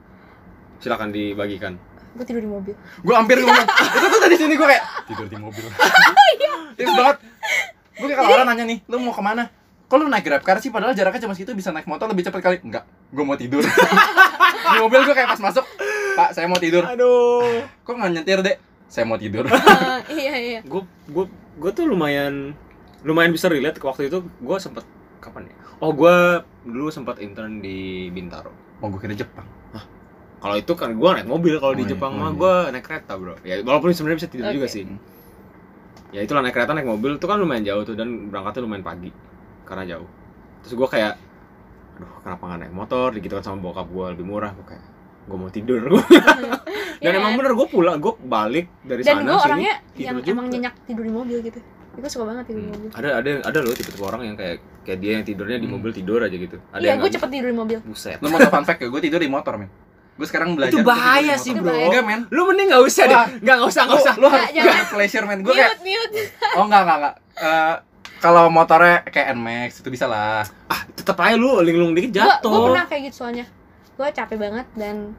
B: Silakan dibagikan.
C: gua tidur di mobil
A: gue hampir ngomong
C: Iya.
A: itu tuh tadi sini gue kayak tidur di mobil tips banget gue kayak kalau orang nanya nih lu mau kemana kok lu naik grab car sih padahal jaraknya cuma segitu bisa naik motor lebih cepat kali enggak gue mau tidur di mobil gue kayak pas masuk pak saya mau tidur
B: Aduh.
A: kok nggak nyetir dek saya mau tidur
C: Ah, iya iya
B: gue gue gue tuh lumayan lumayan bisa relate ke waktu itu gue sempet kapan ya oh gue dulu sempet intern di Bintaro
A: mau gue kira Jepang
B: kalau itu kan gue naik mobil kalau
A: Oh
B: di
A: iya,
B: Jepang
A: oh
B: mah
A: iya.
B: gue naik kereta bro ya walaupun sebenarnya bisa tidur juga
C: Oke.
B: sih ya itulah naik kereta naik mobil itu kan lumayan jauh tuh dan berangkatnya lumayan pagi karena jauh terus gue kayak aduh kenapa nggak naik motor digitukan sama bokap gue lebih murah gue kayak gue mau tidur dan
C: Iya,
B: emang
C: kan?
B: bener gue pulang gue balik dari
C: dan
B: sana
C: gua
B: sini
C: orangnya
B: tidur
C: yang
B: juga. Hmm.
C: emang nyenyak tidur di mobil gitu gue suka banget tidur di mobil
B: ada ada ada loh tipe-tipe orang yang kayak kayak dia yang tidurnya di
A: Hmm.
B: mobil tidur aja gitu ada
C: iya
B: yang
C: gue
B: nggak-
C: cepet tidur di mobil
B: buset
A: lu mau tau fun fact gue tidur di motor men gue sekarang belajar
B: Itu bahaya
A: tidur di
B: sih,
A: motor.
C: bro. Iya.
A: enggak men
B: lu mending nggak usah deh
A: Wah.
B: nggak nggak usah nggak
A: lu,
B: usah
A: lu harus
C: Nggak, jangan.
A: gak pleasure men gue kayak
C: mute mute
A: oh enggak enggak enggak Eh, kalau motornya kayak NMAX itu bisa lah
B: ah tetap aja lu linglung dikit
C: Gua- Gua
B: jatuh
C: pernah kayak gitu soalnya. Gua capek banget dan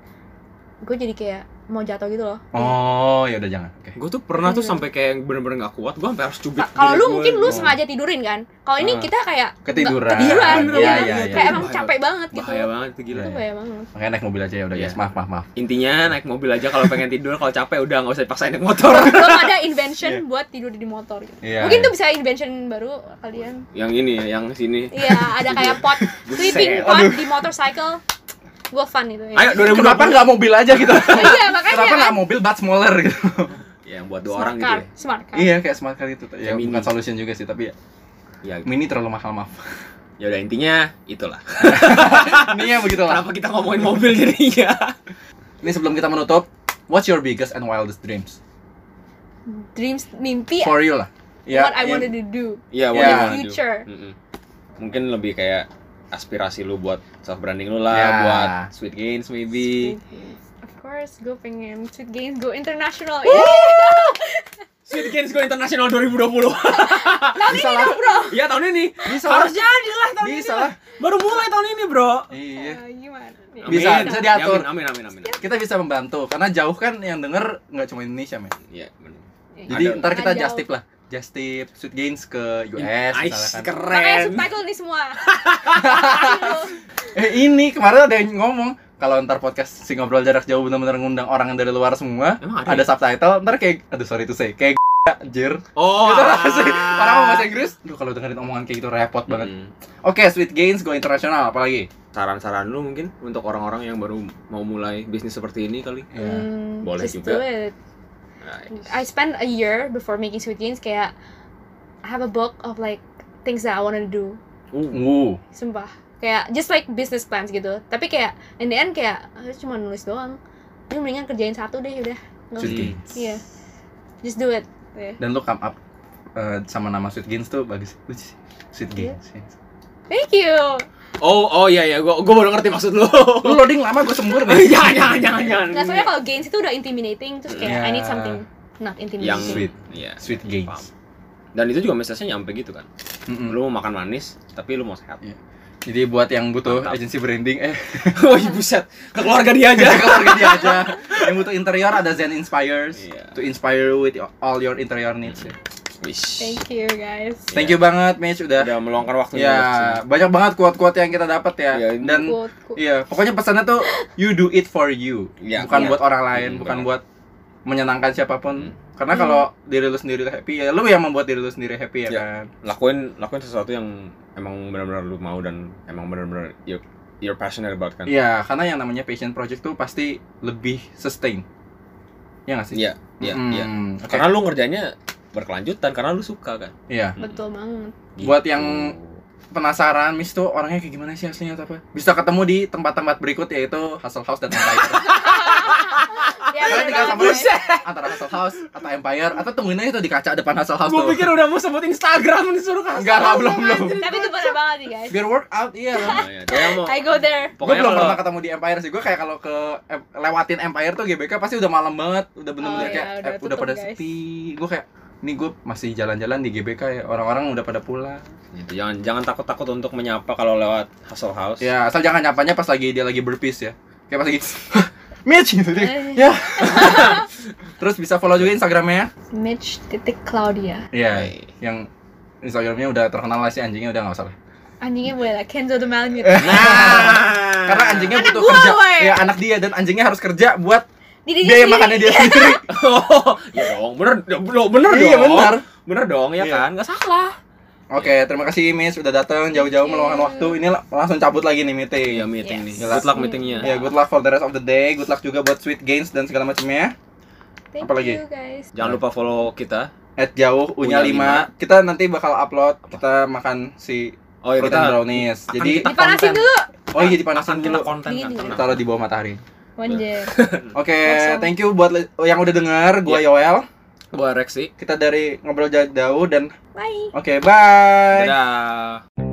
C: gue jadi kayak mau jatuh gitu loh.
A: Oh, ya udah jangan. Oke.
B: Gue tuh pernah tuh
C: Iya.
B: sampai kayak yang bener-bener gak kuat, gue sampai harus cubit.
C: Ka- Kalau
B: diri
C: lu
B: gua.
C: mungkin lu
B: Oh.
C: sengaja tidurin kan. Kalau ini
B: Ah.
C: kita kayak
A: Ketiduran.
C: ketiduran,
B: Bener,
A: Iya,
C: iya.
A: iya, iya.
C: kayak emang
B: Bahaya.
C: capek banget gitu.
B: Bahaya banget tuh gila.
C: Itu bahaya banget.
A: Makanya naik mobil aja ya udah
B: Iya.
A: guys. Maaf, maaf, maaf.
B: Intinya naik mobil aja kalau pengen tidur, kalau capek udah nggak usah dipaksain naik motor.
C: Belum ada invention buat tidur di motor gitu.
A: Iya.
C: Mungkin
A: iya.
C: tuh bisa invention baru kalian.
B: yang ini ya, yang sini.
C: Iya, ada kayak pot sleeping
B: Buset.
C: pot di motorcycle. Gua fun itu. Ya.
B: Ayo 2020.
A: Kenapa nggak mobil aja gitu?
C: Iya, makanya.
A: Kenapa
C: kan?
A: nggak mobil but smaller gitu?
B: Ya, yang buat dua
C: Smart
B: orang gitu
C: car,
B: ya.
C: Smart car.
A: iya, kayak smart car itu. Ya,
B: Kayak mini.
A: bukan solution juga sih, tapi ya,
B: Ya,
A: mini terlalu mahal, maaf.
B: ya udah intinya itulah.
A: Ini ya begitulah.
B: Kenapa kita ngomongin mobil jadinya?
A: Ini sebelum kita menutup, what's your biggest and wildest dreams?
C: Dreams, mimpi
A: For you lah. Ya,
C: Iya. what I
A: in-
C: wanted to do.
B: Iya,
A: what do you
C: wanna do? Ya. Future.
B: Mungkin lebih kayak aspirasi lu buat self branding lu lah,
A: Ya.
B: buat Sweet Gains maybe.
C: Of course, gue pengen Sweet Games, go international.
B: Sweet Gains Go International 2020.
C: Nah,
A: bisa lah,
C: Bro,
B: Iya, tahun ini.
A: bisa lah,
B: Harus jadi lah tahun
A: bisa
B: ini.
A: lah.
B: Baru mulai tahun ini, Bro.
A: Iya.
C: Eh, gimana? nih?
A: Amin. Bisa, bisa diatur.
B: Ya, Amin, amin, amin. amin.
A: Kita bisa membantu karena jauh kan yang denger nggak cuma Indonesia, men.
B: Iya, benar.
A: Jadi
B: Ada.
A: ntar kita
C: Ada.
A: just tip lah. Just tip Sweet Gains ke US misalnya
B: Nice,
A: kan.
C: Makanya
B: keren.
C: subtitle nih semua.
A: Eh ini kemarin ada yang ngomong kalau ntar podcast si ngobrol jarak jauh benar-benar ngundang orang yang dari luar semua,
B: Emang
A: ada subtitle, ntar kayak aduh sorry itu saya kayak jir.
B: Oh,
A: Gitu langsung. orang mau bahasa Inggris, duh kalau dengerin omongan kayak gitu repot banget.
B: Hmm.
A: Oke, Sweet Gains go internasional apalagi?
B: Saran-saran lu mungkin untuk orang-orang yang baru mau mulai bisnis seperti ini kali.
A: Iya.
C: Hmm,
B: Boleh
C: just
B: juga.
C: do it.
B: Nice.
C: I spent a year before making Sweet Games kayak I have a book of like things that I wanna do.
B: Uh,
A: Uh,
C: Sumpah. Kayak just like business plans gitu. Tapi kayak in the end kayak "Ah, cuma nulis doang. Jadi mendingan kerjain satu deh udah. Nggak
A: Sweet
B: Hmm.
A: Gains.
C: Iya. Just do it. Iya.
A: Dan lu come up eh, sama nama Sweet Gains tuh bagus. Which is Sweet ya.
C: Iya.
A: Gains.
C: Thank you.
B: oh, oh iya iya, gua gua baru ngerti maksud lu.
A: Lu loading lama gue sembur nih.
B: jangan, jangan, jangan, jangan.
C: Nggak soalnya kalau gains itu udah intimidating terus kayak I need
A: Iya.
C: something not
B: yang
C: intimidating.
A: Sweet.
B: Iya.
A: Sweet
B: Paham.
A: Gains. Hmm.
B: Dan itu juga message-nya nyampe gitu kan.
A: Mm-mm.
B: Lu mau makan manis, tapi lu mau sehat.
A: Jadi buat yang butuh
B: Mantap.
A: agency branding eh
B: oh, buset. Ke keluarga dia aja.
A: Jadi keluarga dia aja. Yang butuh interior ada Zen Inspires
B: Iya.
A: to inspire you with all your interior needs. ya.
B: Wish.
C: Thank you guys.
A: Thank you banget Mitch udah.
B: Iya. Udah meluangkan waktunya.
A: Ya,
B: buat kesini.
A: banyak banget quote-quote yang kita dapat ya.
B: Iya, ini
A: Dan
C: Quote, quote.
A: iya, pokoknya pesannya tuh you do it for you.
B: Iya,
A: bukan
B: iya.
A: buat orang lain,
B: Hmm,
A: bukan
B: benar.
A: buat menyenangkan siapapun.
B: Hmm.
A: Karena
C: Hmm.
A: kalau diri lu sendiri happy ya lu yang membuat diri lu sendiri happy ya
B: Iya.
A: kan.
B: lakuin lakuin sesuatu yang emang benar-benar lu mau dan emang benar-benar you're, you're passionate about kan.
A: Iya, karena yang namanya passion project tuh pasti lebih sustain. Ya nggak sih?
B: Iya, iya,
A: Mm,
B: iya.
A: oke.
B: Karena lu ngerjainnya berkelanjutan karena lu suka kan. Gitu.
A: Iya.
C: Betul banget.
A: Buat yang- penasaran Miss tuh orangnya kayak gimana sih aslinya atau apa bisa ketemu di tempat-tempat berikut yaitu Hustle House dan Empire
C: Ya,
A: Kalian tinggal
C: bener
A: samperin
C: banget.
A: antara Hustle House atau Empire atau tungguin aja tuh di kaca depan Hustle House
B: Gue
A: tuh
B: pikir udah mau sebut Instagram disuruh kasih.
A: enggak enggak belum belum
C: Tapi itu bener banget nih guys.
A: biar workout iya
B: mau
C: I go there.
A: gue
B: pokoknya
A: belum
B: kalau
A: pernah ketemu di Empire sih gue kayak kalau ke eh, lewatin Empire tuh GBK pasti udah malam banget udah bener-bener
C: Oh,
A: kayak
C: iya,
A: eh,
C: udah
A: udah,
C: tutup,
A: pada
C: guys.
A: sepi gue kayak ini gue masih jalan-jalan di GBK ya orang-orang udah pada pulang
B: Gitu, jangan jangan takut-takut untuk menyapa kalau lewat Hustle House.
A: ya asal jangan nyapanya pas lagi dia lagi berpis ya kayak pas lagi Mitch gitu dia
C: Eh,
A: ya terus bisa follow juga instagramnya
C: Mitch titik Claudia.
A: ya
B: Hai.
A: yang instagramnya udah terkenal lah sih anjingnya udah nggak usah lah
C: Anjingnya boleh lah Kenzo the Melon gitu.
A: Eh,
B: Nah,
A: karena anjingnya
C: Ah. Anak
A: butuh
C: gua, Iya,
A: kerja
C: woy.
A: ya anak dia dan anjingnya harus kerja buat
C: Diri
A: biaya makannya dia sendiri
B: Oh, ya dong, bener, bener, bener
A: iya
B: dong.
A: benar
B: Bener dong,
A: Iya.
B: ya kan? Gak salah.
A: oke terima kasih miss udah datang jauh-jauh
C: you.
A: meluangkan waktu ini la- langsung cabut lagi nih meeting
B: Iya meeting
C: Yes.
B: nih. Iya.
A: Gila.
B: Good luck meetingnya.
A: ya good luck for the rest of the day good luck juga buat sweet gains dan segala macamnya
C: Thank
A: Apa lagi?
C: you guys.
B: Jangan lupa follow kita.
A: at jauh unya
B: Unya
A: 5 kita nanti bakal upload kita makan si
B: Oh ya
A: protein
B: kita
A: brownies
B: akan
A: jadi
B: kita
C: Dipanasin
A: konten.
C: dulu.
A: oh iya
B: akan
A: dipanasin
B: kita
A: dulu
B: konten kan.
C: Dingin, dingin.
B: tenang.
A: taruh di bawah matahari
C: Wonder.
A: Oke,
C: Awesome.
A: thank you buat li- yang udah denger. Gua
B: Iya.
A: Yoel.
B: Gua Rexi.
A: Kita dari ngobrol jarak jauh dan
C: Bye.
A: oke, bye.
B: Dadah.